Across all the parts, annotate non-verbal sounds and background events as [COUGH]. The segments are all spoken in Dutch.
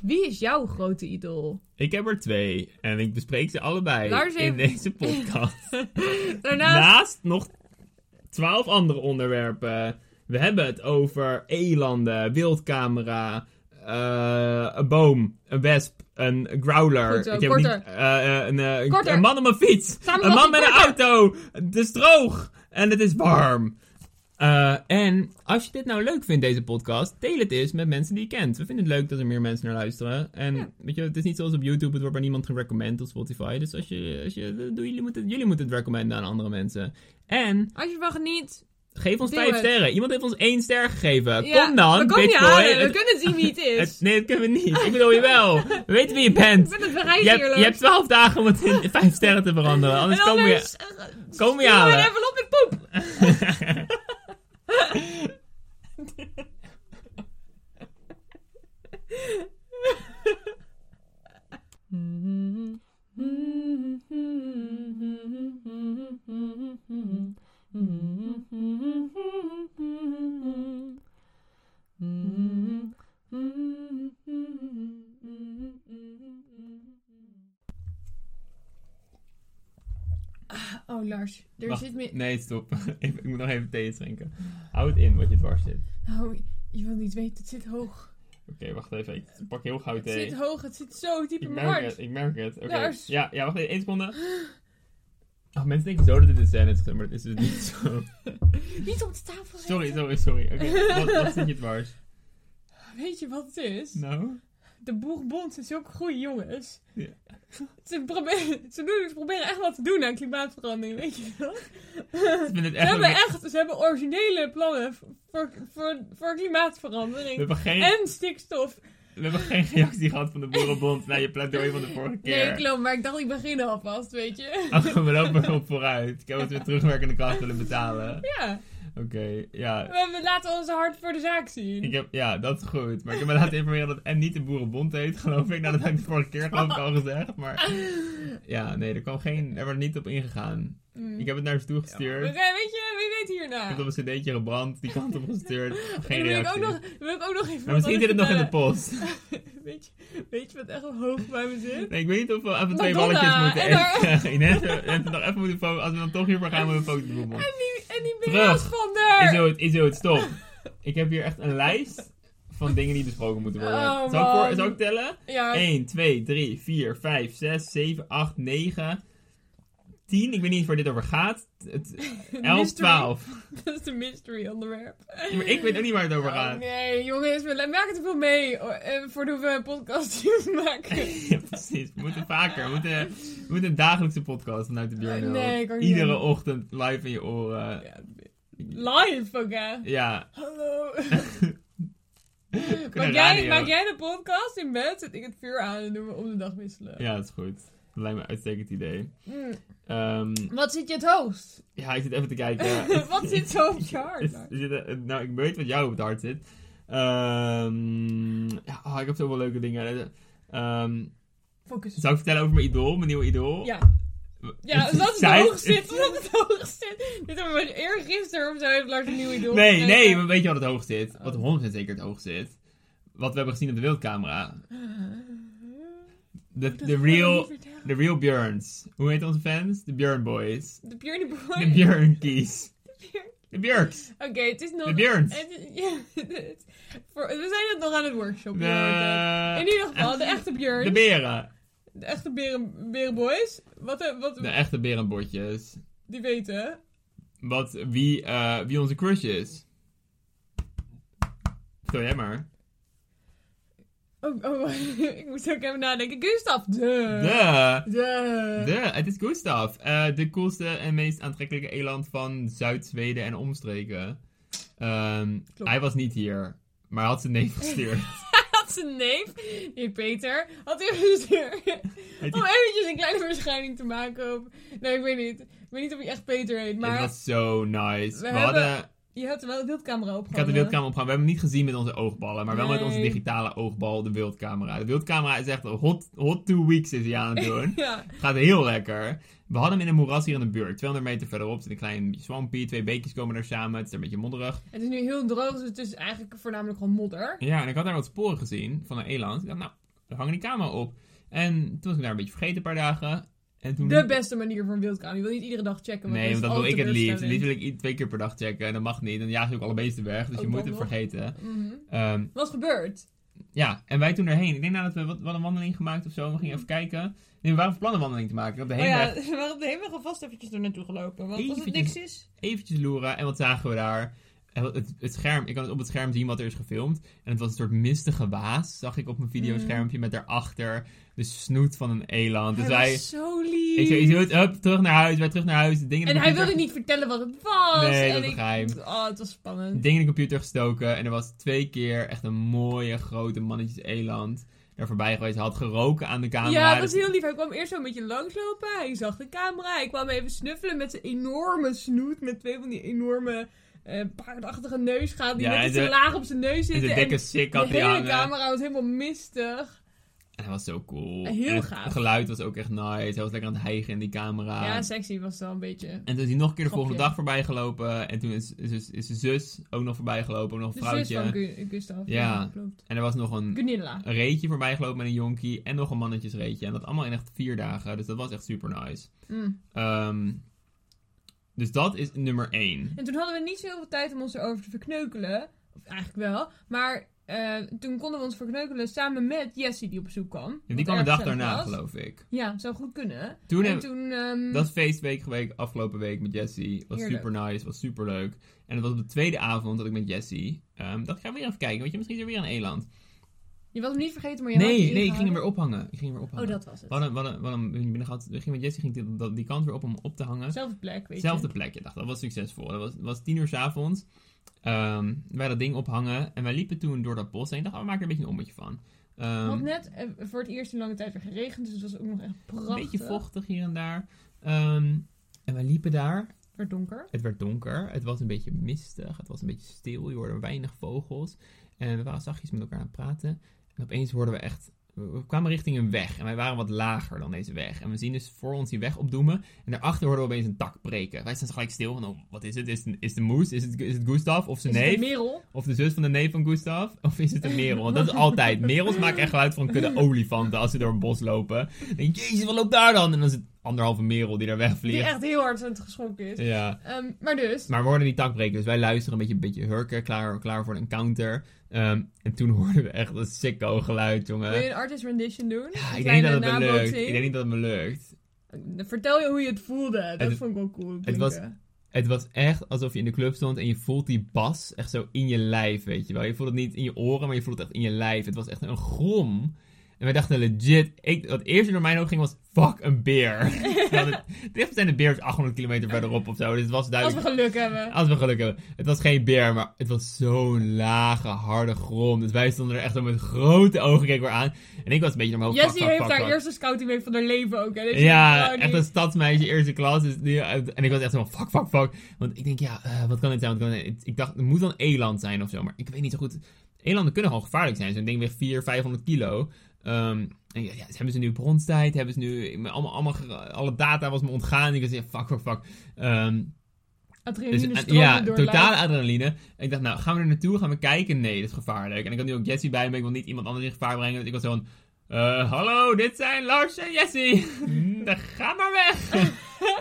Wie is jouw grote idool? Ik heb er twee en ik bespreek ze allebei Lars heeft- in deze podcast. [LAUGHS] Daarnaast... Naast nog twaalf andere onderwerpen. We hebben het over elanden, wildcamera, eh, een boom, een wesp, een growler. Goed zo, Ik heb korter. niet- eh, eh, een, eh, een- Korter. een man op een fiets, een man met een auto. Het is droog en het is warm. Eh, en als je dit nou leuk vindt, deze podcast, deel het eens met mensen die je kent. We vinden het leuk dat er meer mensen naar luisteren. En Ja. weet je, het is niet zoals op YouTube, het wordt bij niemand gerecommend op Spotify. Dus als je, als je, doe, jullie, moeten, jullie moeten het recommenden aan andere mensen. En Als je van geniet... geef ons Doe vijf het. sterren. Iemand heeft ons één ster gegeven. Ja, Kom dan, we komen je bitchboy. halen. We Het- kunnen zien wie het is. [LAUGHS] het- nee, dat kunnen we niet. Ik bedoel je wel. We weten wie je Ik bent. ben het bereid Je hier, hebt, je hebt twaalf dagen om het in vijf sterren te veranderen. Anders komen we je- komen we je halen. eh, even op, ik poep. Oh Lars, er Wacht, zit meer... Nee, stop. [LAUGHS] Even- ik moet nog even thee drinken. Hou het in wat je dwars zit. Oké, Nou, je wil niet weten, het zit hoog. wacht even. Ik pak heel gauw Het thee. zit hoog, het zit zo diep Ik in mijn merk het, hart. ik merk het. Oké. Lars. Ja, ja, wacht even. Eén seconde. Ach, mensen denken zo dat dit een scène is, maar dat is het [LAUGHS] niet zo. Niet op de tafel zitten. Sorry, sorry, sorry. Oké, wat, wat zit je dwars? Weet je wat het is? Nou? De boerbond zijn zulke goede jongens. Ja. Ze, proberen, ze, doen, ze proberen echt wat te doen aan klimaatverandering, weet je wel? Ik vind het Ze echt... hebben een- echt ze hebben originele plannen voor, voor, voor We klimaatverandering. hebben, geen, En stikstof. we hebben geen reactie gehad van de Boerenbond na je pleidooi van de vorige keer. Nee, klopt, maar ik dacht ik begin alvast, weet je? Ach, we lopen erop vooruit. Ik heb het weer terugwerkende kracht willen betalen. Ja, Oké, ja. we we laten ons hard voor de zaak zien. Ik heb, ja, dat is goed. Maar ik heb me laten informeren dat het en niet de Boerenbond heet, geloof ik. Nou, dat heb ik de vorige keer geloof ik al gezegd. Maar ja, nee, er, kwam geen, er werd niet op ingegaan. Mm. Ik heb het naar ze toe We gestuurd. gaan- weet je, wie weet Ik hierna? heb het op een cd'tje gebrand, die kant op gestuurd. [LAUGHS] Geen En dan wil ik ook reactie. nog, wil ik ook nog even Maar misschien wat zit het nog in de vertellen. post. [LAUGHS] weet, je, weet je wat echt hoog bij me zit? Nee, ik weet niet of we even twee Madonna, balletjes moeten en haar- eten. [LAUGHS] Ik denk dat we- dat we nog even moeten fo- Als we dan toch hiervoor gaan, moeten we foto's doen. man. En die, en die Terug. Mireille van der... Is het, is het, stop. Ik heb hier echt een lijst van dingen die besproken moeten worden. Oh, zal, ik voor- man. zal ik tellen? Ja, 1, 2, 3, 4, 5, 6, 7, 8, 9, 10. Ik weet niet waar dit over gaat. Het- 11, mystery. 12. [LAUGHS] dat is de mystery onderwerp. Ja, maar Ik weet ook niet waar het over Oh, gaat. [LAUGHS] nee, jongens, we maken te veel mee oh, eh, voordat we een podcast [LAUGHS] hier maken. Ja, precies. We moeten vaker. We moeten, we moeten een dagelijkse podcast vanuit de deur. Oh, doen. nee, ik ook niet. Iedere ochtend live in je oren. Ja, live, ook hè? Ja. [LAUGHS] Hallo. Kunnen Maak jij, radio. maak jij de podcast in bed, zet ik het vuur aan en doen we om de dag wisselen. ja, dat is goed. Dat lijkt me een uitstekend idee. Mm. Ehm, Wat zit je het hoogst? ja, ik zit even te [LAUGHS] kijken. wat zit zo op je hart? [LAUGHS] Is- Mark? is het, eh, nou, ik weet wat jou op het hart zit. Ehm, ja, oh, ik heb zoveel leuke dingen. Ehm, Focus. zou ik vertellen over mijn idool, mijn nieuwe idool? Ja. Ja, dat is Zij- het hoogst [LAUGHS] zit. Dat is het hoogst zit. Dit hebben we eergisteren of zo heeft Lars een nieuw idool. Nee, gekregen. nee, maar weet je wat het hoog zit? Oh. Wat 100% zeker het hoog zit? Wat we hebben gezien op de wildcamera. De, Ah, Dat de, kan ik real, niet vertellen. de real Björns. Hoe heet onze fans? De Björn Boys. De Björn Boy. De [LAUGHS] Björnkies. Oh, Björn- De Björks. Oké, het is nog... De Björns. het is- ja, [LAUGHS] het- voor- we zijn het nog aan het workshop. In De, ieder geval, de echte Björn. de De, beren. echte beren, berenboys. Wat, eh, wat De echte berenbotjes. die weten. Wat, wie, eh, wie onze crush is. Vertel jij maar. Oh, oh, [LAUGHS] ik moest ook even nadenken. Gustav, de. De, De. de, het is Gustav. Eh, de coolste en meest aantrekkelijke eland van Zuid-Zweden en omstreken. Ehm, Klopt. hij was niet hier, maar had zijn neef [LAUGHS] gestuurd. Had zijn neef, die heet Peter, had hij gestuurd. Heet Om die- eventjes een kleine verschijning te maken op... Nee, ik weet niet. Ik weet niet of hij echt Peter heet, maar het was zo nice. We We, hebben- hadden, je had wel de wildcamera op. ik had de wildcamera opgegaan. We hebben hem niet gezien met onze oogballen, maar wel met onze Nee. digitale oogbal, de wildcamera. De wildcamera is echt hot, hot two weeks is hij aan het doen. Ja, Het gaat heel lekker. We hadden hem in een moeras hier in de buurt. 200 meter verderop zit een klein zwampie. Twee beekjes komen daar samen. Het is een beetje modderig. het is nu heel droog, dus het is eigenlijk voornamelijk gewoon modder. Ja, en ik had daar wat sporen gezien van een eland. Ik dacht, nou, hang die camera op. En toen was ik daar een beetje vergeten een paar dagen. En toen De beste manier voor een wildkaan. Je wil niet iedere dag checken. Mm-hmm. Nee, want dat is dat wil ik altijd het liefst. Het teleurstellend. liefst wil ik i- twee keer per dag checken. En dat mag niet. Dan jagen ze ook alle beesten weg. Dus Ook je moet dat het Oh, nog. vergeten. Mhm. Ehm, Wat is gebeurd? ja, en wij toen erheen. Ik denk nadat we wat, wat een wandeling gemaakt of zo. We gingen even kijken. Nee, we waren van plan een wandeling te maken. Op de Oh heenweg ja, [LAUGHS] we waren op de heenweg alvast eventjes er naartoe gelopen. Want als het niks Eventjes. is... eventjes loeren. En wat zagen we daar? En wat- Het, het scherm, ik kan op het scherm zien wat er is gefilmd. En het was een soort mistige waas, zag ik op Mm. mijn videoschermpje. Met daarachter de snoet van een eland. Dus hij wij... was zo lief. Ik zei, je doet up, terug naar huis, wij terug naar huis. Dingen in en de hij wilde computer- niet vertellen wat het was. Nee, en dat ik- begrijp. Oh, het was spannend. Dingen in de computer gestoken. En er was twee keer echt een mooie grote mannetjes eland daar voorbij geweest. Hij had geroken aan de camera. ja, het Dus- was heel lief. Hij kwam eerst zo een beetje langslopen. Hij zag de camera. Hij kwam even snuffelen met zijn enorme snoet. Met twee van die enorme eh paardachtige neusgaten die Ja, net en iets te de- laag op zijn neus en zitten. de En dikke sik de had hij hele hangen. camera was helemaal mistig. En hij was zo cool. Heel En het gaaf. geluid was ook echt nice. Hij was lekker aan het hijgen in die camera. Ja, sexy was het wel een beetje. En toen is hij nog Ah. een keer de volgende Grapje. dag voorbij gelopen. En toen is, is, dus, is, is zijn zus ook nog voorbij gelopen. Ook nog een De zus van vrouwtje. Gu- Gustav. Ja. klopt. En er was nog een, Gunilla. een reetje voorbij gelopen met een jonkie. En nog een mannetjesreetje. En dat allemaal in echt vier dagen. Dus dat was echt super nice. Mm. Ehm, dus dat is nummer één. En toen hadden we niet zoveel tijd om ons erover te verkneukelen. Of eigenlijk wel. Maar eh, toen konden we ons verkneukelen samen met Jessie die op bezoek kwam. En die Wat kwam de erg dag gezellig daarna, was. geloof ik. Ja, zou goed kunnen. Toen en heb- toen... ehm, Dat feestweek geweest afgelopen week met Jessie. Was Heerlijk. super nice, was super leuk. En het was op de tweede avond dat ik met Jessie. ehm dacht ik ga weer even kijken. Weet je, misschien is er weer een eland. Je was hem niet vergeten, maar je had Nee, hem nee, ik ging hem ingehouden. weer ophangen. Ik ging hem weer Oh, ophangen. dat was het. Wat een, wat een, wat een, binnen gehad. Ik ging met Jesse ging die, dat- die kant weer op om op te hangen. Zelfde plek, weet eh, Zelfde je. plek, je dacht, dat was succesvol. Dat was, was tien uur s'avonds. Ehm wij dat ding ophangen en wij liepen toen door dat bos heen. Ik dacht, oh, we maken er een beetje een ommetje van. Ehm, Het had net eh, voor het eerst in lange tijd weer geregend, dus het was ook nog echt prachtig. een beetje vochtig hier en daar. Ehm, en wij liepen daar. Het werd donker. Het werd donker, het was een beetje mistig, het was een beetje stil, je hoorde weinig vogels. En we waren zachtjes met elkaar aan het praten. En opeens hoorden we echt, we kwamen richting een weg en wij waren wat lager dan deze weg. En we zien dus voor ons die weg opdoemen en daarachter hoorden we opeens een tak breken. Wij staan gelijk stil van, oh, wat is het? Is het, is het een moes? Is het, is het Gustav of zijn Is het neef? een merel? Of de zus van de neef van Gustav? Of is het een merel? Want dat is [LAUGHS] altijd. Merels maken echt geluid van een kudde olifanten als ze door een bos lopen. Dan denk je, jezus, wat loopt daar dan? En dan is het anderhalve merel die daar Die wegvliegt. echt heel hard aan het geschrokken is. Ja. Ehm, maar dus, Maar we hoorden die takbreken, dus wij luisteren een beetje, een beetje hurken, klaar, klaar voor een counter. Ehm, en toen [LAUGHS] hoorden we echt een sicko geluid, jongen. wil je een artist rendition doen? Ja, Een ik denk kleine dat het me lukt. nabootsing? Ik denk niet dat het me lukt. Vertel je hoe je het voelde. Dat Het- vond ik wel cool. het was- Het was echt alsof je in de club stond en je voelt die bas echt zo in je lijf, weet je wel. Je voelt het niet in je oren, maar je voelt het echt in je lijf. Het was echt een grom. En wij dachten legit, ik, wat eerst door mijn ogen ging was, fuck, een beer. [LAUGHS] Terwijl het- het dichtst zijn de beer is 800 kilometer verderop of zo, dus het was Als duidelijk... we geluk hebben. [LAUGHS] Als we geluk hebben. Het was geen beer, maar het was zo'n lage, harde grond. Dus wij stonden er echt zo met grote ogen keken we aan. En ik was een beetje naar mijn hoofd. Jessie pak, pak, heeft pak, haar pak. eerste scouting week van haar leven ook. Hè? Dus je denkt, Ja, oh, die- echt een stadsmeisje, eerste klas. Dus die- en ik was echt zo van, fuck, fuck, fuck. Want ik denk, ja, eh, wat kan dit zijn? Wat kan dit zijn? Ik dacht, het moet dan eland zijn of zo. Maar ik weet niet zo goed. Elanden kunnen gewoon gevaarlijk zijn. Zo'n ding weegt 400, 500 kilo. Ehm, en ja, ja, hebben ze nu bronstijd? Hebben ze nu... Allemaal, allemaal, ge- alle data was me ontgaan. Ik was echt, fuck, fuck, fuck. Ehm, dus, Adrenaline eh, stroomde ja, door het lijf. totale adrenaline. Ik dacht, nou, gaan we er naartoe? Gaan we kijken? Nee, dat is gevaarlijk. En ik had nu ook Jessie bij me. Ik wil niet iemand anders in gevaar brengen. Dus ik was zo'n... eh, hallo, dit zijn Lars en Jessie. Mm, [LAUGHS] Dan ga maar weg. [LAUGHS]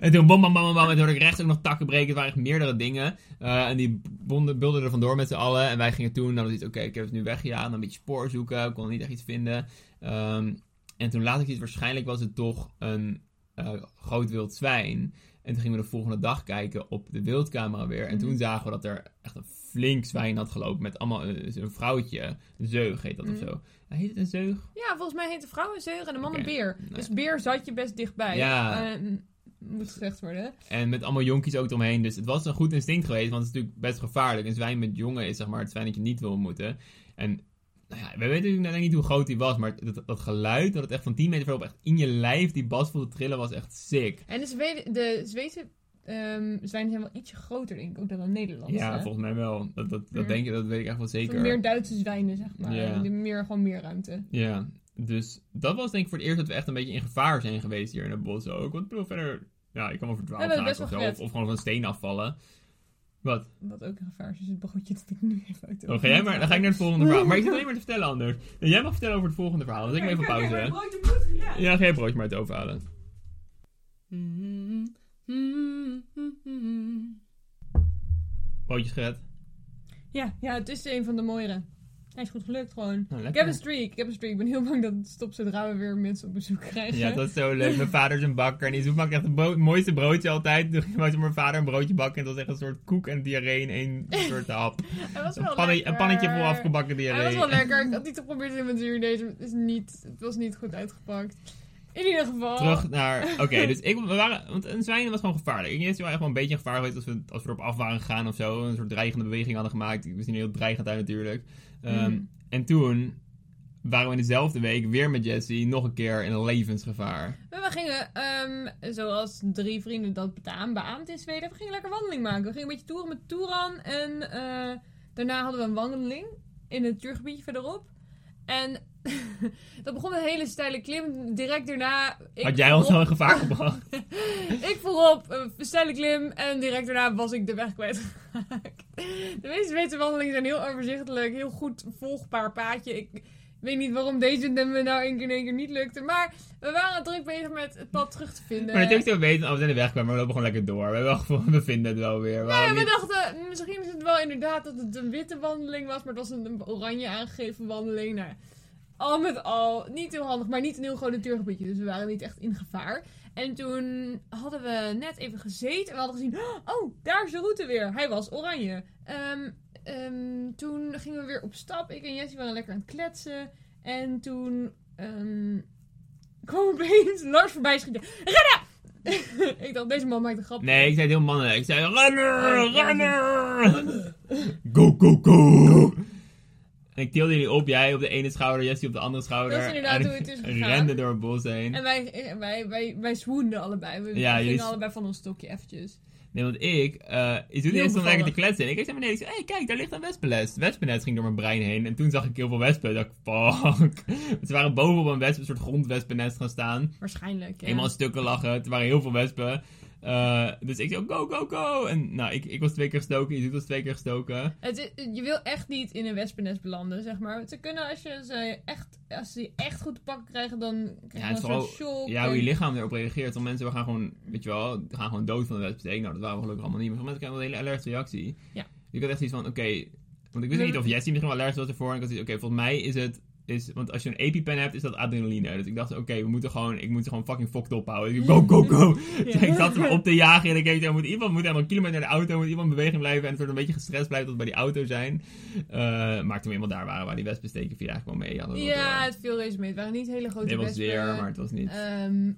en toen bam, bam, bam, bam, bam. En toen hoorde ik rechts ook nog takken breken. Het waren echt meerdere dingen. Eh, en die bonden, bulden er vandoor met z'n allen. En wij gingen toen, nou, dat is oké, ik heb het nu weggejaagd. Dan een beetje spoor zoeken. Ik kon niet echt iets vinden. Ehm, en toen laat ik iets, waarschijnlijk was het toch een eh, groot wild zwijn. En toen gingen we de volgende dag kijken op de wildcamera weer. En toen Mhm. zagen we dat er echt een flink zwijn had gelopen. Met allemaal eh, een vrouwtje. Een zeug heet dat of Mhm. zo. Heet het een zeug? Ja, volgens mij heet de vrouw een zeug en de man Oké, een beer. nou Dus beer zat je best dichtbij. Ja. Eh, moet gezegd worden. En met allemaal jonkies ook eromheen. Dus het was een goed instinct geweest. Want het is natuurlijk best gevaarlijk. Een zwijn met jongen is zeg maar het zwijn dat je niet wil ontmoeten. En nou ja, we weten natuurlijk net niet hoe groot die was. Maar dat, dat geluid dat het echt van 10 meter verderop echt in je lijf die bas voelde trillen was echt sick. En de, Zweden, de Zweedse ehm zwijnen zijn wel ietsje groter, denk ik, ook dan de Nederlandse. ja, volgens mij wel. Dat, dat, dat Mhm. denk ik, dat weet ik echt wel zeker. Van meer Duitse zwijnen, zeg maar. Ja. Die- Meer, gewoon meer ruimte. Ja, dus dat was denk ik voor het eerst dat we echt een beetje in gevaar zijn geweest hier in het bos ook. Want ik bedoel, verder, ja, ik kan wel verdwaald We hebben raken het of best zo. wel Of, of gewoon van een steen afvallen. Wat? Wat ook een gevaar is, is het bruggetje dat ik nu even uit de Oh, ga jij maar, dan ga ik naar [LAUGHS] het volgende verhaal. Maar ik zit alleen maar te vertellen anders. En jij mag vertellen over het volgende verhaal. Dus ik neem even pauze. hè. Ja, ga jij broodje maar uit de oven halen. Broodjes gered. Nou, Ja, ja, het is een van de mooiere. Hij is goed gelukt gewoon. Nou, Ik heb een lekker. streak, ik heb een streak. Ik ben heel bang dat het stopt zodra we weer mensen op bezoek krijgen. Ja, dat is zo leuk. Mijn vader is een bakker en die zoekt- maakt echt het brood- mooiste broodje altijd. Toen ging maakte mijn vader een broodje bakken en dat was echt een soort koek en diarree in één [LAUGHS] soort hap. Hij was Een, wel panne- een pannetje vol lekker. afgebakken Hij was diarree. wel lekker. Ik had niet geprobeerd in mijn zuur. Deze is niet, het was niet goed uitgepakt. In ieder geval. Terug naar. Oké, dus ik, we waren. Want een zwijn was gewoon gevaarlijk. Ik denk dat het wel echt wel een beetje gevaarlijk geweest als we, als we erop af waren gegaan of zo. Een soort dreigende beweging hadden gemaakt. Misschien heel dreigend uit natuurlijk. Ehm, Mhm. En toen waren we in dezelfde week weer met Jesse. Nog een keer in levensgevaar. Maar we gingen, ehm, zoals drie vrienden dat betaam- beaamd in Zweden, we gingen lekker wandeling maken. We gingen een beetje toeren met Toeran. En eh, daarna hadden we een wandeling in het natuurgebiedje verderop. En [LAUGHS] dat begon met een hele steile klim. Direct daarna... ik Had jij ons voorop- al in gevaar gebracht? [LAUGHS] Ik voorop, een steile klim en direct daarna was ik de weg kwijtgeraakt. [LAUGHS] De meeste Zweedse wandelingen zijn heel overzichtelijk, heel goed volgbaar paadje. Ik weet niet waarom deze me nou één keer in één keer niet lukte, maar we waren druk bezig met het pad terug te vinden. maar natuurlijk zo weten, als we in de weg kwamen, we lopen gewoon lekker door. We, hebben wel gewoon- we vinden het wel weer. We Ja, hadden we niet- dachten, mm, misschien is het wel inderdaad dat het een witte wandeling was, maar het was een, een oranje aangegeven wandeling. Nou, al met al, niet heel handig, maar niet een heel groot natuurgebiedje, dus we waren niet echt in gevaar. En toen hadden we net even gezeten en we hadden gezien, oh, daar is de route weer. Hij was oranje. Ehm, ehm, toen gingen we weer op stap, ik en Jessie waren lekker aan het kletsen. En toen ehm kwam opeens Lars voorbij schieten. Renna! [LAUGHS] ik dacht, deze man maakt een grap. Nee, ik zei het heel mannelijk. Ik zei: rennen, Oh, ja. rennen. Go, go, go. En ik tilde jullie op, jij op de ene schouder, Jesse op de andere schouder. Dat is inderdaad en hoe het is gegaan. rende door het bos heen. En wij, eh, wij, wij, wij swoenden allebei. We Ja, gingen jullie- allebei van ons stokje eventjes. Nee, want ik, eh ik doe Heel eerst om lekker te bevallig. kletsen. En ik keek naar beneden, ik zei, hé, hey, kijk, daar ligt een wespennest. Wespennest ging door mijn brein heen. En toen zag ik heel veel wespen. Ik dacht, fuck. [LAUGHS] Want Ze waren boven op een, wesp, een soort grondwespennest gaan staan. Waarschijnlijk. ja. Helemaal in stukken lachen. Er waren heel veel wespen. Eh, dus ik zei, go, go, go. En nou, ik, ik was twee keer gestoken, Judith was twee keer gestoken. Het is- je wil echt niet in een wespennest belanden, zeg maar. Want Ze kunnen als je ze echt, als ze je echt goed te pakken krijgen, dan krijg Ja, je het wel is een soort shock. Ja, hoe en- je lichaam erop reageert. Sommige mensen gaan gewoon, weet je wel, die gaan gewoon dood van de wesp. Ik denk, Nou, dat waren we gelukkig allemaal niet. Maar sommige mensen krijgen wel een hele allergische reactie. Ja. Ik had echt iets van, oké, want ik wist Nee, niet maar- of Jesse misschien wel allergisch was ervoor. En ik had zoiets, oké, volgens mij is het, is, want als je een EpiPen hebt, is dat adrenaline. Dus ik dacht, oké, we moeten gewoon, ik moet gewoon fucking fokt ophouden. Dus ik, go, go, go. Dus [LAUGHS] ik zat hem op te jagen en ik keek, er moet iemand moet helemaal een kilometer naar de auto, moet iemand in beweging blijven en het wordt een beetje gestrest blijven tot we bij die auto zijn. Eh, maar toen we eenmaal daar waren, waar die wespen steken, viel eigenlijk wel mee. Hadden we Oh, wel door. Ja, het viel reuze mee. Het waren niet hele grote Nee, het was wespen. zeer, maar het was niet. Ehm,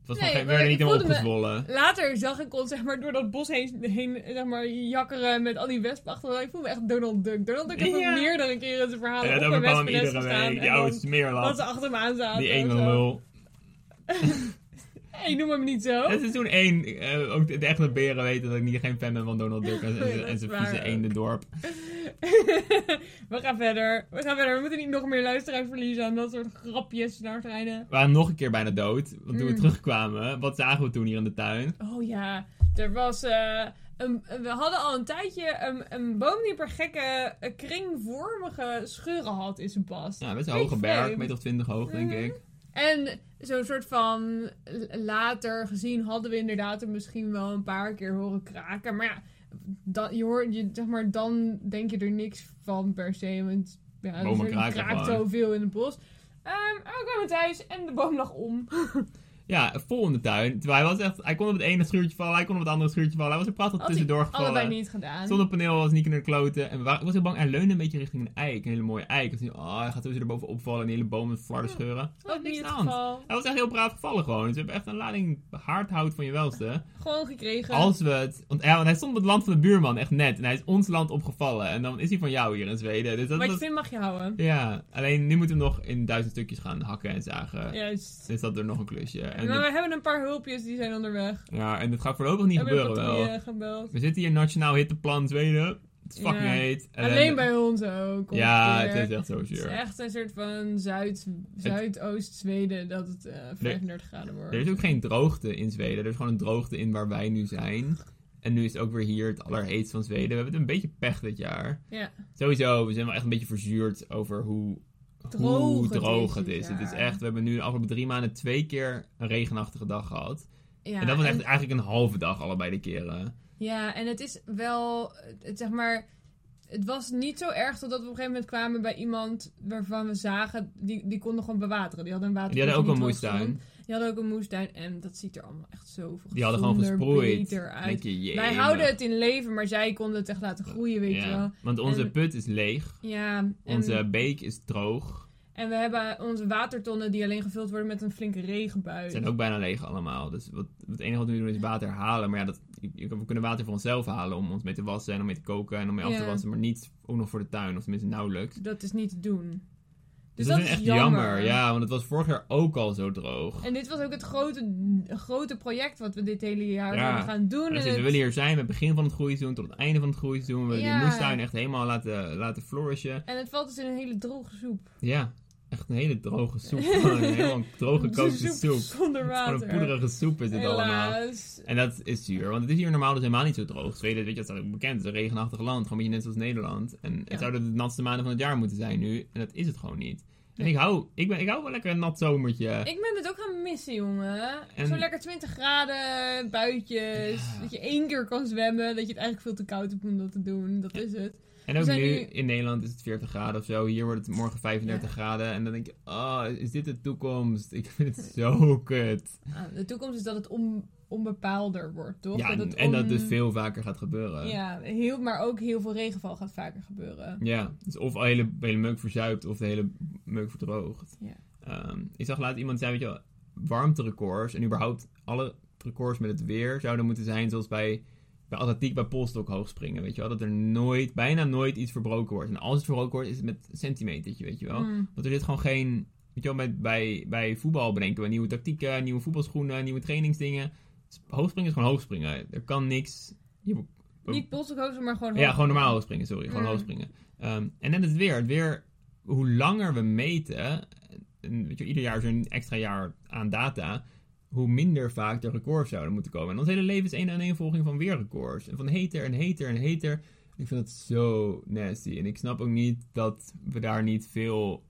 Het was Nee, gewoon geen- we maar werden niet ik helemaal voelde me- opgezwollen. later zag ik ons zeg maar, door dat bos heen, heen zeg maar, jakkeren met al die wespen achter. elkaar. Ik voelde me echt Donald Duck. Donald Duck heeft Ja. me meerdere keren zijn verhalen En op dat een overkwam hem wespennest iedere gestaan. week. Die en oude dan- dat ze smeerlap. achter hem aan zaten. Die of ene zo. Oh. lul. Hey, noem hem niet [LAUGHS] zo. En seizoen 1, eh, ook de, de echte beren weten dat ik niet geen fan ben van Donald [LAUGHS] Duck en, Nee, en, dat en is zijn waar vieze ook. eendendorp. we gaan verder. We gaan verder. We moeten niet nog meer luisteraars verliezen aan dat soort grapjes naar treinen. We waren nog een keer bijna dood. Want toen we Mm. terugkwamen, wat zagen we toen hier in de tuin? Oh ja, er was. eh, een, we hadden al een tijdje een, een boom die een paar gekke eh, kringvormige scheuren had in zijn bast. Ja, best een Heel hoge berg, vreemd. een meter of twintig hoog, denk Mhm. ik. En zo'n soort van l- later gezien hadden we inderdaad er misschien wel een paar keer horen kraken. Maar ja, dan, je hoort, je, zeg maar, dan denk je er niks van per se. Want ja, Bomen er kraken kraakt gewoon. zoveel in het bos. Ehm, en we kwamen thuis en de boom lag om. Ja, vol in de tuin. Terwijl hij was echt, hij kon op het ene schuurtje vallen, hij kon op het andere schuurtje vallen. Hij was er prachtig Had hij tussendoor Allebei gevallen. niet gedaan. Zonnepaneel was niet kunnen kloten. En we waren- ik was heel bang. Hij leunde een beetje richting een eik. Een hele mooie eik. Ik dacht, oh, hij gaat sowieso erbovenop vallen en die hele boom met flarden Ja. scheuren. Dat was niks niet het aan de hand. geval. Hij was echt heel braaf gevallen gewoon. Dus we hebben echt een lading haardhout van je welste. Gewoon gekregen. Als we het... Want, ja, want hij stond op het land van de buurman, echt net. En hij is ons land opgevallen. En dan is hij van jou hier in Zweden. Dus dat Wat je was- vindt mag je houden. Ja, alleen nu moeten we hem nog in duizend stukjes gaan hakken en zagen. Juist. Dus dat er nog een klusje. En maar dit- we hebben een paar hulpjes die zijn onderweg. ja, en dat gaat voorlopig niet We hebben eh, gebeuren een wel. patrouille gebeld. We zitten hier nationaal hitteplan Zweden. Het is fucking Ja. heet. Alleen bij ons ook. Ja, ongeveer. het is echt zo Het is zuur. echt een soort van Zuid, Zuidoost-Zweden dat het eh, 35 graden wordt. Er is ook geen droogte in Zweden. Er is gewoon een droogte in waar wij nu zijn. En nu is het ook weer hier het allerheetst van Zweden. We hebben het een beetje pech dit jaar. Ja. Sowieso, we zijn wel echt een beetje verzuurd over hoe Droog hoe het droog is het dit is. Het is jaar. echt, we hebben nu de afgelopen drie maanden twee keer een regenachtige dag gehad. Ja, en dat was echt en- eigenlijk een halve dag allebei de keren. Ja, en het is wel, het, zeg maar, het was niet zo erg totdat we op een gegeven moment kwamen bij iemand waarvan we zagen, die, die konden gewoon bewateren. Die hadden een water. Die hadden ook een Die moestuin. hadden ook een moestuin en dat ziet er allemaal echt zo veel Die hadden gewoon gezonder, gesproeid. beter Dan uit. Denk je, Wij jemig. houden het in leven, maar zij konden het echt laten groeien, weet Ja, je wel. Want onze En- put is leeg. Ja, en, Onze beek is droog. en we hebben onze watertonnen die alleen gevuld worden met een flinke regenbui. Ze zijn ook bijna leeg allemaal. Dus wat, het enige wat we nu doen is water halen. Maar ja, dat, je- je- we kunnen water voor onszelf halen om ons mee te wassen en om mee te koken en om mee af te Ja. wassen. Maar niet ook nog voor de tuin, of tenminste nauwelijks. Dat is niet te doen. Dus Dus dat, dat is is echt jammer. jammer. Ja, want het was vorig jaar ook al zo droog. En dit was ook het grote, grote project wat we dit hele jaar Ja. zouden gaan doen. En En sinds we het- willen hier zijn, met het begin van het groeiseizoen tot het einde van het groeiseizoen. We willen Ja. die moestuin echt helemaal laten, laten flourishen. En het valt dus in een hele droge soep. Ja, echt een hele droge soep. [LAUGHS] Gewoon een helemaal droge gekookte soep. Het Zonder is Gewoon water. een poederige soep is het allemaal. Helaas. En dat is zuur, want het is hier normaal dus helemaal niet zo droog. Zweden, weet je, dat staat ook bekend. Het is een regenachtig land, gewoon een beetje net zoals Nederland. En het Ja. zouden de natste maanden van het jaar moeten zijn nu. En dat is het gewoon niet. En Nee. ik hou, ik, ben, ik hou wel lekker een nat zomertje. Ik ben het ook gaan missen, jongen. En- Zo lekker 20 graden, buitjes. Ja. Dat je één keer kan zwemmen. Dat je het eigenlijk veel te koud hebt om dat te doen. Dat is het. En ook We nu, zijn nu- in Nederland is het 40 graden of zo. Hier wordt het morgen 35 graden. En dan denk je, oh, is dit de toekomst? Ik [LAUGHS] vind het zo kut. Ah, de toekomst is dat het on- onbepaalder wordt, toch? ja, het en dat on- het veel vaker gaat gebeuren. Ja, heel, maar ook heel veel regenval gaat vaker gebeuren. Ja, dus of de hele, de hele meuk verzuipt of de hele meuk verdroogt. Ja. Ehm, ik zag laatst iemand zei, weet je wel, warmterecords en überhaupt alle records met het weer zouden moeten zijn zoals bij, bij atletiek bij polstok hoogspringen, weet je wel. Dat er nooit, bijna nooit iets verbroken wordt. En als het verbroken wordt, is het met een centimetertje, weet je wel. Mm. Want er zit gewoon geen. Weet je wel, bij, bij, bij voetbal bedenken we nieuwe tactieken, nieuwe voetbalschoenen, nieuwe trainingsdingen. Dus hoogspringen is gewoon hoogspringen. Er kan niks. je- Niet polshoofd, maar gewoon... ja, gewoon normaal hoogspringen, sorry. Gewoon Mm. hoogspringen. Ehm, en net het weer. Het weer, hoe langer we meten, en weet je, ieder jaar is er een extra jaar aan data, hoe minder vaak er records zouden moeten komen. En ons hele leven is één aan één volging van weerrecords. En van heter en heter en heter. Ik vind dat zo nasty. En ik snap ook niet dat we daar niet veel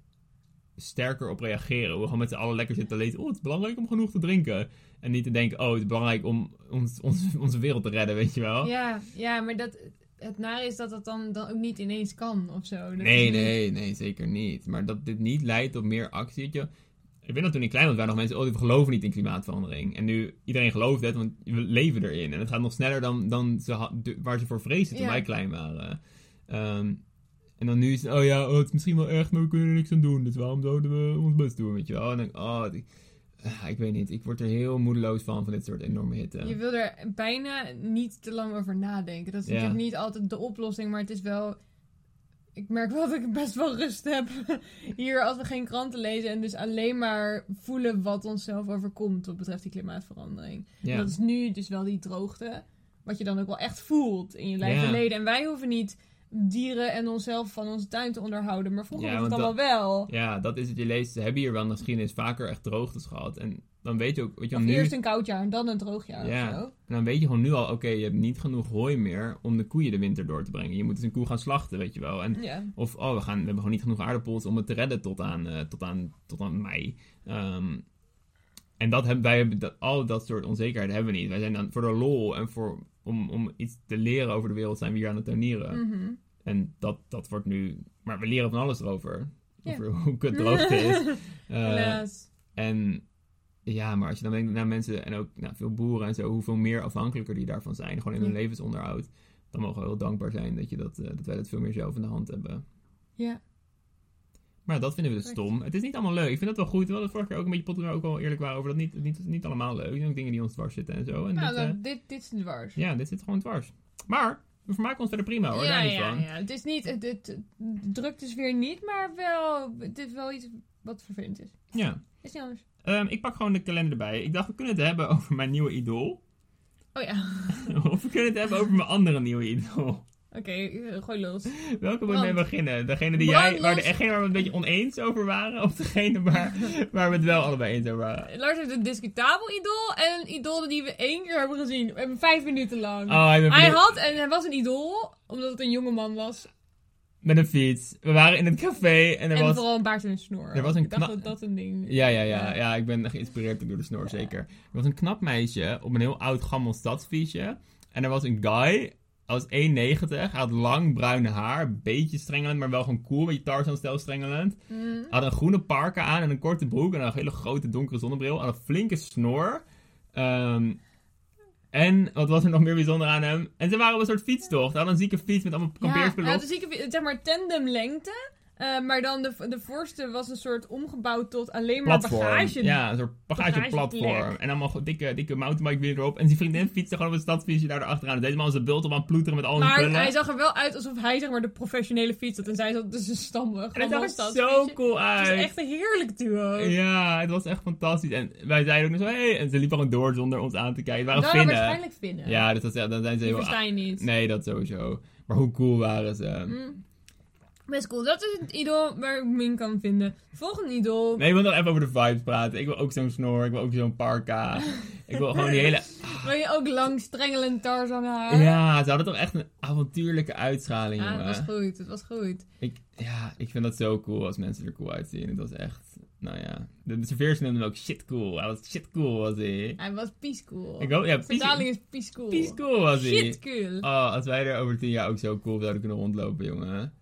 sterker op reageren. We gewoon met z'n allen lekker zitten te lezen. Oh, het is belangrijk om genoeg te drinken. En niet te denken, oh, het is belangrijk om ons, ons, [LAUGHS] onze wereld te redden, weet je wel. Ja, ja, maar dat, het nare is dat dat dan, dan ook niet ineens kan of zo. Dat is Nee, niet- nee, nee, zeker niet. Maar dat dit niet leidt tot meer actie. weet je. Ik weet dat toen ik klein was, waren nog mensen, oh, die geloven niet in klimaatverandering. En nu, iedereen gelooft het, want we leven erin. En het gaat nog sneller dan, dan ze ha- de- waar ze voor vreesden toen Ja. wij klein waren. Ehm, en dan nu is het, oh ja, oh, het is misschien wel echt, maar we kunnen er niks aan doen. Dus waarom zouden we ons best doen, weet je wel? En dan denk ik, oh, die- ah, ik weet niet. Ik word er heel moedeloos van, van dit soort enorme hitte. Je wil er bijna niet te lang over nadenken. Dat is Ja. natuurlijk niet altijd de oplossing, maar het is wel. Ik merk wel dat ik best wel rust heb [LAUGHS] hier als we geen kranten lezen en dus alleen maar voelen wat onszelf overkomt wat betreft die klimaatverandering. Ja. En dat is nu dus wel die droogte, wat je dan ook wel echt voelt in je lijf Ja. en leden. En wij hoeven niet dieren en onszelf van onze tuin te onderhouden, maar vroeger Ja, was het want allemaal wel. Ja, dat is het. Je leest, ze hebben hier wel in de geschiedenis vaker echt droogtes gehad. En dan weet je ook, weet je Of wel, nu... eerst een koud jaar en dan een droog jaar Ja. of zo. En dan weet je gewoon nu al, oké, je hebt niet genoeg hooi meer om de koeien de winter door te brengen. Je moet eens een koe gaan slachten, weet je wel. En, Ja. of, oh, we, gaan, we hebben gewoon niet genoeg aardappels om het te redden tot aan, eh, tot aan, tot aan mei. Ehm, en dat hebben, wij hebben dat, al dat soort onzekerheden hebben we niet. Wij zijn dan voor de lol en voor, om, om iets te leren over de wereld zijn we hier aan het tonieren. Mhm. En dat, dat wordt nu... Maar we leren van alles erover. Ja. Over hoe kut droogte [LAUGHS] is. Eh, Helaas. en ja, maar als je dan denkt naar mensen en ook nou, veel boeren en zo, hoeveel meer afhankelijker die daarvan zijn, gewoon in hun Ja. levensonderhoud, dan mogen we heel dankbaar zijn dat, je dat, eh, dat wij dat veel meer zelf in de hand hebben. Ja. Maar dat vinden we dus Correct. stom. Het is niet allemaal leuk. Ik vind dat wel goed. We hadden vorige keer ook een beetje podcast ook al eerlijk waren over dat niet, niet, niet allemaal leuk. Er zijn ook dingen die ons dwars zitten en zo. En Nou, dit, eh, dan, dit, dit is dwars. ja, dit zit gewoon dwars. Maar we vermaken ons verder prima hoor. ja, Daar niet ja, van. ja. Het is niet, het, het, het drukt dus weer niet, maar wel, het is wel iets wat vervelend is. Ja. Is niet anders. Ehm, ik pak gewoon de kalender erbij. Ik dacht, we kunnen het hebben over mijn nieuwe idool. [LAUGHS] Oh ja. [LAUGHS] of we kunnen het hebben over mijn andere nieuwe idool. Oké, eh, gooi los. Welke moet ik mee Brand. beginnen? Degene die Brand jij, waar, de, los. degene waar we een beetje oneens over waren? Of degene waar, waar we het wel allebei eens over waren? Lars heeft een discutabel idool en een idool die we één keer hebben gezien. We hebben vijf minuten lang. Oh, ik ben hij benieuwd. had en hij was een idool, omdat het een jonge man was. Met een fiets. We waren in het café en er en was... vooral een baard en een snor. er was een ik dacht kna- dat dat een ding Ja, ja, ja, ja. Ik ben geïnspireerd door de snor, zeker. Er was een knap meisje op een heel oud gammel stadsfietsje. En er was een guy, hij was 1,90. Hij had lang bruin haar, een beetje strengelend, maar wel gewoon cool. Beetje Tarzan-stijl strengelend. Hij had een groene parka aan en een korte broek en een hele grote donkere zonnebril. Hij had een flinke snor. Ehm, en wat was er nog meer bijzonder aan hem? En ze waren op een soort fietstocht. Hij had een zieke fiets met allemaal kampeerspullen ja, op. dus ik zeg maar tandem lengte. eh, maar dan de, de voorste was een soort omgebouwd tot alleen maar platform. bagage. Ja, een soort bagageplatform. Bagageplek. En allemaal go- dikke, dikke mountainbike weer erop. En zijn vriendin fietste gewoon op een stadsfietsje daar achteraan. Dus deze man is een bult op aan het ploeteren met al zijn Maar spullen. hij zag er wel uit alsof hij zeg maar de professionele fiets had. En zij zat dus een stamme. en gammel het zag er zo stadsfietsje. cool Het uit. is echt een heerlijk duo. Ja, het was echt fantastisch. En wij zeiden ook nog zo, hey. En ze liepen gewoon door zonder ons aan te kijken. Nou, Het waren Finnen. waarschijnlijk vinden. Ja, dus dat, ja, dan zijn ze Die heel... versta je niet. Nee, dat sowieso. Maar hoe cool waren ze? Mm. Best cool. Dat is het idool waar ik min kan vinden. Volgende idool. Nee, ik wil nog even over de vibes praten. Ik wil ook zo'n snor, ik wil ook zo'n [LAUGHS] parka. ik wil gewoon die hele... Wil je ook lang strengelend Tarzan haar? Ja, ze hadden toch echt een avontuurlijke uitstraling, Ja, jongen. het was goed. Het was goed. Ik, ja, ik vind dat zo cool als mensen er cool uitzien. Het was echt, nou ja. De, de serveers noemden hem ook shit cool. Hij was shit cool, was hij. Hij was peacecool. Ik hoop, ja, De vertaling pies, is peacecool. pies cool was hij. Shit cool. Oh, als wij er over tien jaar ook zo cool zouden kunnen rondlopen, jongen.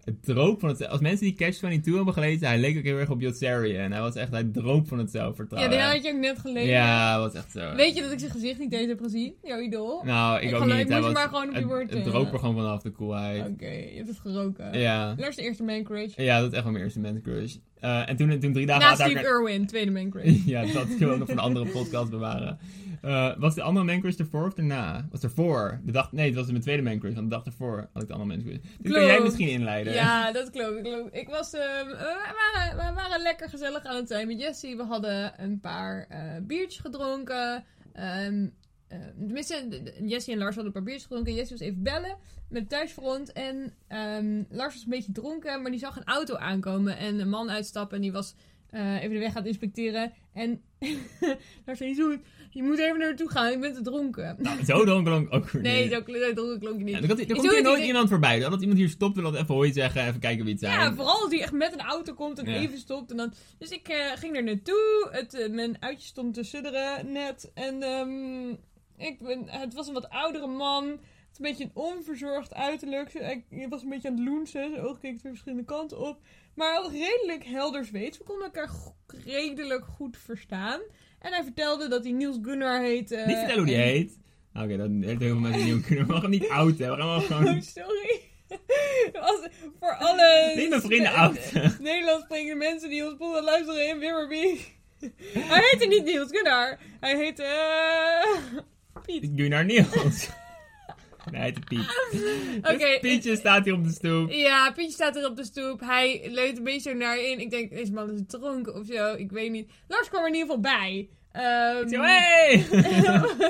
Het droop van het... Als mensen die Catch 22 hebben gelezen, hij leek ook heel erg op Yotsarian. Hij was echt, hij droop van het ja, zelfvertrouwen. die had je ook net gelezen. Ah, Ja, was echt zo. Weet je dat ik zijn gezicht niet eens heb gezien? Jouw idool? Oké, Nou, ik, Ik ook geloof- niet. moet Hij je was, maar gewoon op je het- woord, Het eh, droop er gewoon vanaf de coolheid. je hebt het geroken. Ja. Lars de eerste man crush. Ja, dat is echt wel mijn eerste man crush. Eh, en toen, toen drie dagen Na later... Steve Irwin, tweede man crush. [LAUGHS] ja, dat kunnen we nog van een andere podcast bewaren. Eh, was de andere Man Crush ervoor of daarna? Was ervoor. De dag, nee, het was mijn tweede Man Crush, want de dag ervoor had ik de andere Man Crush. Dit kun Klopt. jij misschien inleiden. Ja, dat klopt. Ik, klopt. ik was, ehm, eh, we, waren, we waren lekker gezellig aan het zijn met Jessie. We hadden een paar eh, biertjes gedronken. Ehm, eh, tenminste, de- de- Jessie en Lars hadden een paar biertjes gedronken. Jessie was even bellen met thuisfront. En ehm, Lars was een beetje dronken, maar die zag een auto aankomen. En een man uitstappen en die was eh, even de weg aan het inspecteren. En [LAUGHS] Lars zei, "Zoet, je moet even naartoe gaan, ik ben te dronken. Nou, zo dronk ik ook weer Nee, niet. zo kl- zo dronken klonk je niet. Ja, er komt, er Ik komt doe hier het nooit niet. iemand voorbij. Dan Dat iemand hier stopt en dat even hoi zeggen en even kijken wie het zijn. Ja, vooral als hij echt met een auto komt en Ja. even stopt. En dan... Dus ik eh, ging er naartoe. Het, eh, mijn uitje stond te sudderen net. En ehm, ik ben, het was een wat oudere man. Het is een beetje een onverzorgd uiterlijk. Hij hij was een beetje aan het loensen. Zijn ogen keken twee verschillende kanten op. Maar hij had redelijk helder Zweeds. We konden elkaar go- redelijk goed verstaan. En hij vertelde dat hij Niels Gunnar heette. niet vertellen hoe die eh, en- heet. Ah, Oké, dat heeft heel veel mensen niet kunnen. [LAUGHS] We gaan hem niet oud, hè. We gaan [LAUGHS] hem Oh, gewoon... sorry. [LAUGHS] Dat was voor alle... Neem mijn vrienden oud. Nederlands sprekende mensen die ons podcast luisteren in Wimmerby. Hij heette niet Niels Gunnar. Hij heette... eh, Piet. [LAUGHS] Gunnar Niels. Nee, het is Piet. Oké. eh, Dus Pietje staat hier op de stoep. Ja, Pietje staat er op de stoep. Hij leunt een beetje zo naar in. Ik denk, deze man is dronken of zo. Ik weet niet. Lars kwam er in ieder geval bij. Ehm, Zo, hey!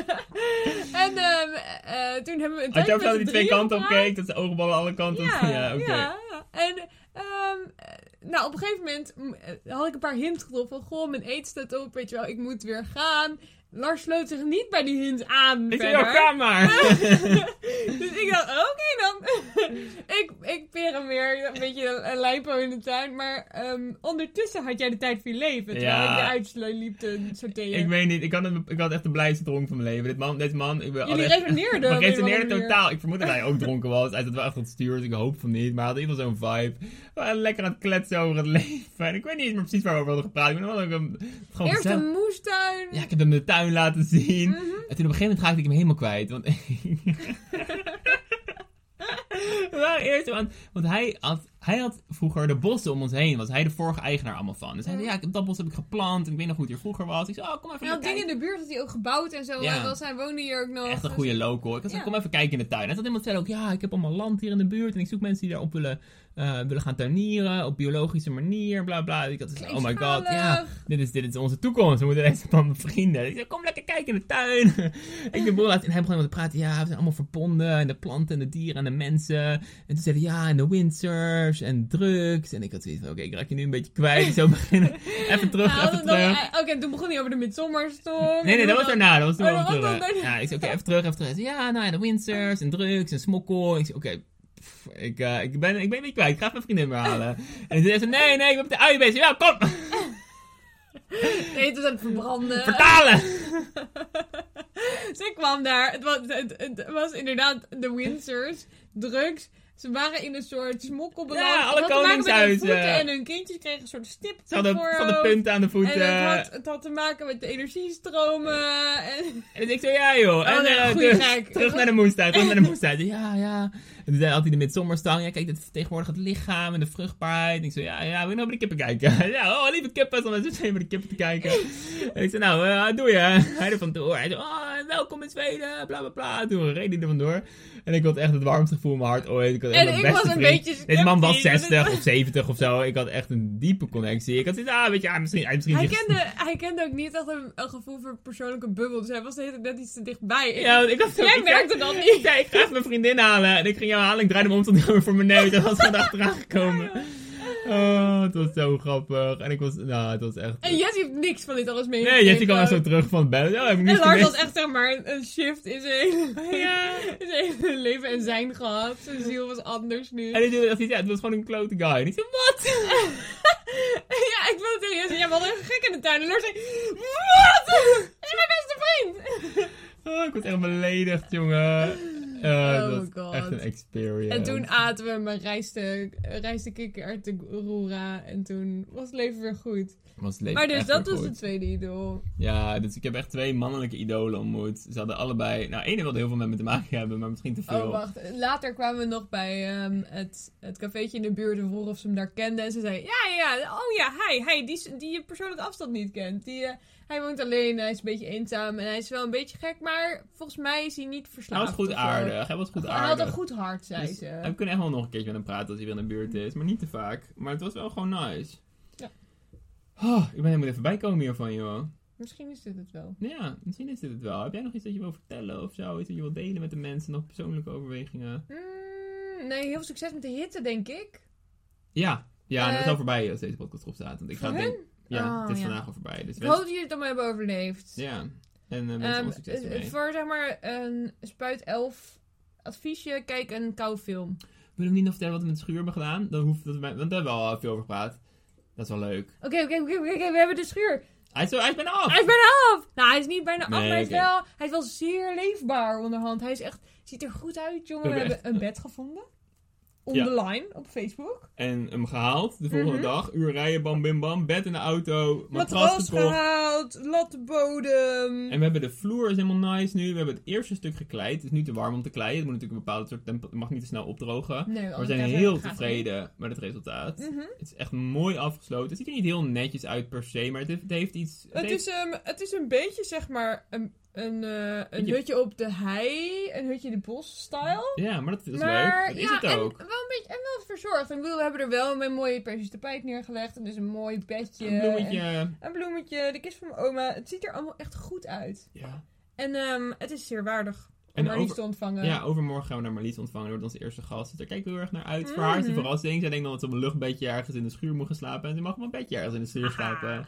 [LAUGHS] en ehm, eh, toen hebben we een Had je tijdje ook dat met die z'n twee drieën kanten op gepraat. keek? Dat zijn oogballen alle kanten op. [LAUGHS] Ja, oké. ja, ja. En ehm, eh, nou, op een gegeven moment mm, eh, had ik een paar hints getroffen. Van, goh, mijn eten staat op, weet je wel, ik moet weer gaan. Lars sloot zich niet bij die hint aan. Ik zei, verder. "Ja, ga maar. Dus ik dacht, oké dan. [LAUGHS] ik, ik peer hem weer, een beetje een lijpo in de tuin. Maar ehm, ondertussen had jij de tijd voor je leven. Terwijl Ja. ik eruit slo- liep te sorteren. ik weet niet, ik had, een- ik had echt de blijste dronk van mijn leven. Dit man, deze man, ik ben Jullie echt- redeneerden [LAUGHS] We op een redeneerden of andere totaal. Ik vermoed dat hij ook dronken was. Hij zat wel echt op het stuur, dus ik hoop van niet. Maar hij had in ieder geval zo'n vibe. We waren lekker aan het kletsen over het [LAUGHS] leven. En ik weet niet eens meer precies waar we over hadden gepraat. Ik ben wel ook een- gewoon Eerst gezellig. een moestuin. Ja, ik heb hem de tuin laten zien. Mhm. En toen op een gegeven moment raakte ik hem helemaal kwijt. Want [LAUGHS] We waren eerst zo aan, want hij had, hij had vroeger de bossen om ons heen, was hij de vorige eigenaar allemaal van. Dus hij zei, ja, ik heb dat bos heb ik geplant en ik weet nog hoe het hier vroeger was. Ik zei, oh, kom even Mhm. Hij had Nou, dingen kijken. in de buurt had hij ook gebouwd en zo. Ja. Hij, was, hij woonde hier ook nog. Echt een Dus- goede local. Ik zei, Ja. kom even kijken in de tuin. Hij zat iemand vertellen ook, ja, ik heb allemaal land hier in de buurt en ik zoek mensen die daarop willen eh, eh, willen gaan tuinieren op biologische manier, bla bla. Ik had zoiets, Klinkt oh my god, zalig. ja, dit is, dit is onze toekomst. We moeten deze van vrienden. Ik zei, kom lekker kijken in de tuin. [LAUGHS] ik de boel laat en hij begon te praten. Ja, we zijn allemaal verbonden. En de planten en de dieren en de mensen. En toen zeiden ja, en de windsurfs en drugs. En ik had zoiets van, oké, ik raak je nu een beetje kwijt. [LAUGHS] Zo beginnen. even terug, Nou, even dan- terug. eh, Oké, toen begon hij over de midsommerstorm. Nee, nee, dat was er daarna. Dat was toen Oh, wel dat was terug. dan daarna. Ja, ik zei, oké, even terug, even terug. Hij zei, Ja, nou ja, de Windsors en drugs en smokkel. Ik zei, oké, pff, ik, eh, ik, ben, ik ben niet kwijt. Ik ga even mijn vriendin weer [LAUGHS] halen. en toen zei ze, nee, nee, ik ben met de ui bezig. Ja, kom, Eten aan het verbranden. vertalen! [LAUGHS] Ze kwam daar. Het was, het, het was inderdaad de Windsors. Drugs. Ze waren in een soort smokkelbeland. Ja, alle Het had te maken met hun koningshuizen. voeten En hun kindjes kregen een soort stip op Ze hadden, hun ze hadden voorhoofd. punten aan de eh. En voeten. het En, had, het had te maken met de energiestromen. [LAUGHS] En... dus ik zei, ja joh. Oh, en nee, eh, goeie terug- gek. Terug naar de moestuin, terug naar [LAUGHS] de moestuin. Ik zei, Ja, ja. En toen zei- had hij de midzommerstang. Ja, kijk, dit vertegenwoordigt het lichaam en de vruchtbaarheid. En ik zei, ja, ja, wil je nog bij de kippen kijken? [LAUGHS] Ja, oh, lieve kippen, dan zitten we bij de kippen te kijken. En ik zei, nou, eh, doe je. [LAUGHS] Hij er vandoor. Hij zei, oh, welkom in Zweden, bla, bla, bla. Toen reed hij er vandoor. En ik had echt het warmste gevoel in mijn hart ooit. Ik had echt En mijn ik beste was een vriend. beetje Deze man was sceptisch, want 60 het- of 70 of zo. Ik had echt een diepe connectie. Ik had zoiets, ah, weet je, ah, misschien... ah, misschien Hij, is- kende, hij kende ook niet echt een, een gevoel voor persoonlijke bubbel. Dus hij was de hele tijd net iets te dichtbij. Ja, want ik had Jij ik- merkte dat niet. Ik zei, ik ga even mijn vriendin halen. En ik ging jou halen. Ik draaide hem om, stond hij voor mijn neus. En was gewoon achteraan gekomen. Oh, het was zo grappig. En ik was, nou, het was echt... En Jesse heeft niks van dit alles mee. Nee, Jesse kwam echt zo terug van het bed. Ja, heb ik niet En Lars gemist. had echt zeg maar een- een shift in zijn hele, Ja. [LAUGHS] in zijn hele leven en zijn gehad. Zijn ziel was anders nu. En hij dacht, ja, het was gewoon een klote guy. En ik zei, wat? [LAUGHS] ja, ik wilde tegen Jesse, ja, we hadden een gek in de tuin. En Lars zei, wat? [LAUGHS] Dat is mijn beste vriend! Oh, ik was echt beledigd, jongen. Eh, Oh dat my was God. echt een experience. En toen aten we mijn rijste, eh, rijste kikker de roera. En toen was het leven weer goed. was het leven Maar dus echt dat weer was goed. het tweede idool. Ja, dus ik heb echt twee mannelijke idolen ontmoet. Ze hadden allebei... Nou, ene wilde heel veel met me te maken hebben, maar misschien te veel. Oh, wacht. Later kwamen we nog bij ehm, het, het cafeetje in de buurt en vroegen of ze hem daar kenden. En ze zei, ja, ja, ja, oh ja, hij, hij, die, s- die je persoonlijk afstand niet kent. Die, eh, hij woont alleen, hij is een beetje eenzaam en hij is wel een beetje gek, maar volgens mij is hij niet Hij verslaafd. was goed of zo. aardig. Hij was goed Hij had een aardig. goed hart, zei Dus, eh, ze. we kunnen echt wel nog een keertje met hem praten als hij weer in de buurt is. Maar niet te vaak. Maar het was wel gewoon nice. Ja. Oh, ik ben helemaal even bijkomen hiervan, joh. Nou Misschien is dit het wel. Ja, misschien is dit het wel. Heb jij nog iets dat je wil vertellen of zo? Iets dat je wil delen met de mensen? Nog persoonlijke overwegingen? Mm, nee, heel veel succes met de hitte, denk ik. Ja. Ja, dat is Eh, al voorbij als deze podcast erop staat. Want ik ga voor denk... Ja, Oh, het is ja. vandaag al voorbij. Dus Ik wens- hoop dat jullie het allemaal hebben overleefd. Ja. En eh, Ehm, mensen um, succes eh, ermee. voor zeg maar een spuit 11 adviesje, kijk een koude film. Wil je niet nog vertellen wat we met de schuur hebben gedaan? Dan hoeft dat, want daar hebben we al veel over gepraat. Dat is wel leuk. Oké, oké, oké, oké, oké, we hebben de schuur. Hij is, zo- hij is bijna af! Hij is bijna af! Nou, hij is niet bijna af, Nee, maar hij is, oké. wel, hij is wel zeer leefbaar onderhand. Hij is echt, ziet er goed uit, jongen. We We hebben hebben een bed gevonden. Ja. Online, op Facebook. En hem gehaald de volgende Mhm. dag. Uur rijden, bam bim bam. Bed in de auto. Matras Matras gekocht. gehaald, lattenbodem. En we hebben de vloer is helemaal nice nu. We hebben het eerste stuk gekleid. Het is nu te warm om te kleien. Het moet natuurlijk een bepaalde soort tempo. Het mag niet te snel opdrogen. Nee, Maar we anders zijn krijgen heel gaten. tevreden met het resultaat. Mhm. Het is echt mooi afgesloten. Het ziet er niet heel netjes uit per se. Maar het heeft, het heeft iets... Het Het heeft- is, ehm, het is een beetje, zeg maar, een, een, eh, een Beetje- hutje op de hei, een hutje in de bos-style. Ja, maar dat, dat is maar leuk. Dat ja, is het ook. En wel een beetje en wel verzorgd. Ik bedoel, we hebben er wel een mooie persische tapijt neergelegd. En dus een mooi bedje. Een bloemetje. Een bloemetje, de kist van mijn oma. Het ziet er allemaal echt goed uit. Ja. En ehm, het is zeer waardig om En Marlies over- te ontvangen. Ja, overmorgen gaan we naar Marlies ontvangen. Dat wordt onze eerste gast. Dus daar kijken we heel erg naar uit. Voor haar is het Mhm. een verrassing. Zij denkt dan dat ze op een luchtbedje ergens in de schuur moet gaan slapen. En ze mag op een bedje ergens in de schuur slapen.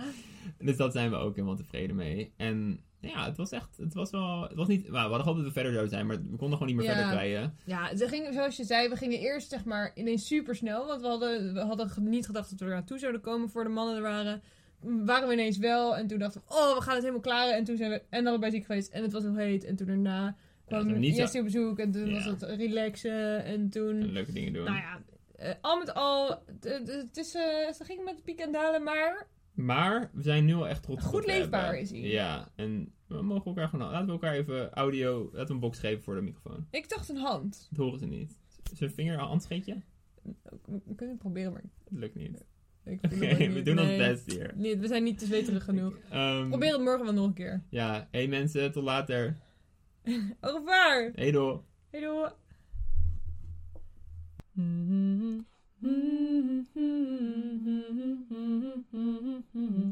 Dus dat zijn we ook helemaal tevreden mee. En ja, het was echt, het was wel, het was niet, nou, we hadden gehoopt dat we verder zouden zijn, maar we konden gewoon niet meer Ja. verder krijgen. Ja, ze gingen, zoals je zei, we gingen eerst zeg maar ineens super snel. Want we hadden, we hadden ge- niet gedacht dat we er naartoe zouden komen voor de mannen er waren. Waren we ineens wel. En toen dachten we, oh, we gaan het helemaal klaren. En toen zijn we en allebei ziek geweest. En het was heel heet. En toen daarna kwam toen niet zo- Jesse op bezoek. En toen Ja. was het relaxen. En toen... En leuke dingen doen. Nou ja, eh, al met al, het- het het is, eh, ze gingen met de piek en dalen, maar Maar we zijn nu al echt trots op Goed wat we leefbaar hebben. is hij. Ja, en we mogen elkaar gewoon, laten we elkaar even audio, laten we een box geven voor de microfoon. ik dacht een hand. Dat horen ze niet. Is er een vinger al handscheetje? We we kunnen het proberen, maar Dat lukt niet. [LAUGHS] ik Oké, voel het ook we niet. doen ons Nee. best hier. Nee, we zijn niet te zweterig genoeg. Ehm, Probeer het morgen wel nog een keer. Ja, hey mensen, tot later. Au revoir! Hey doei. Hey, doei. Mm-hmm. [LAUGHS]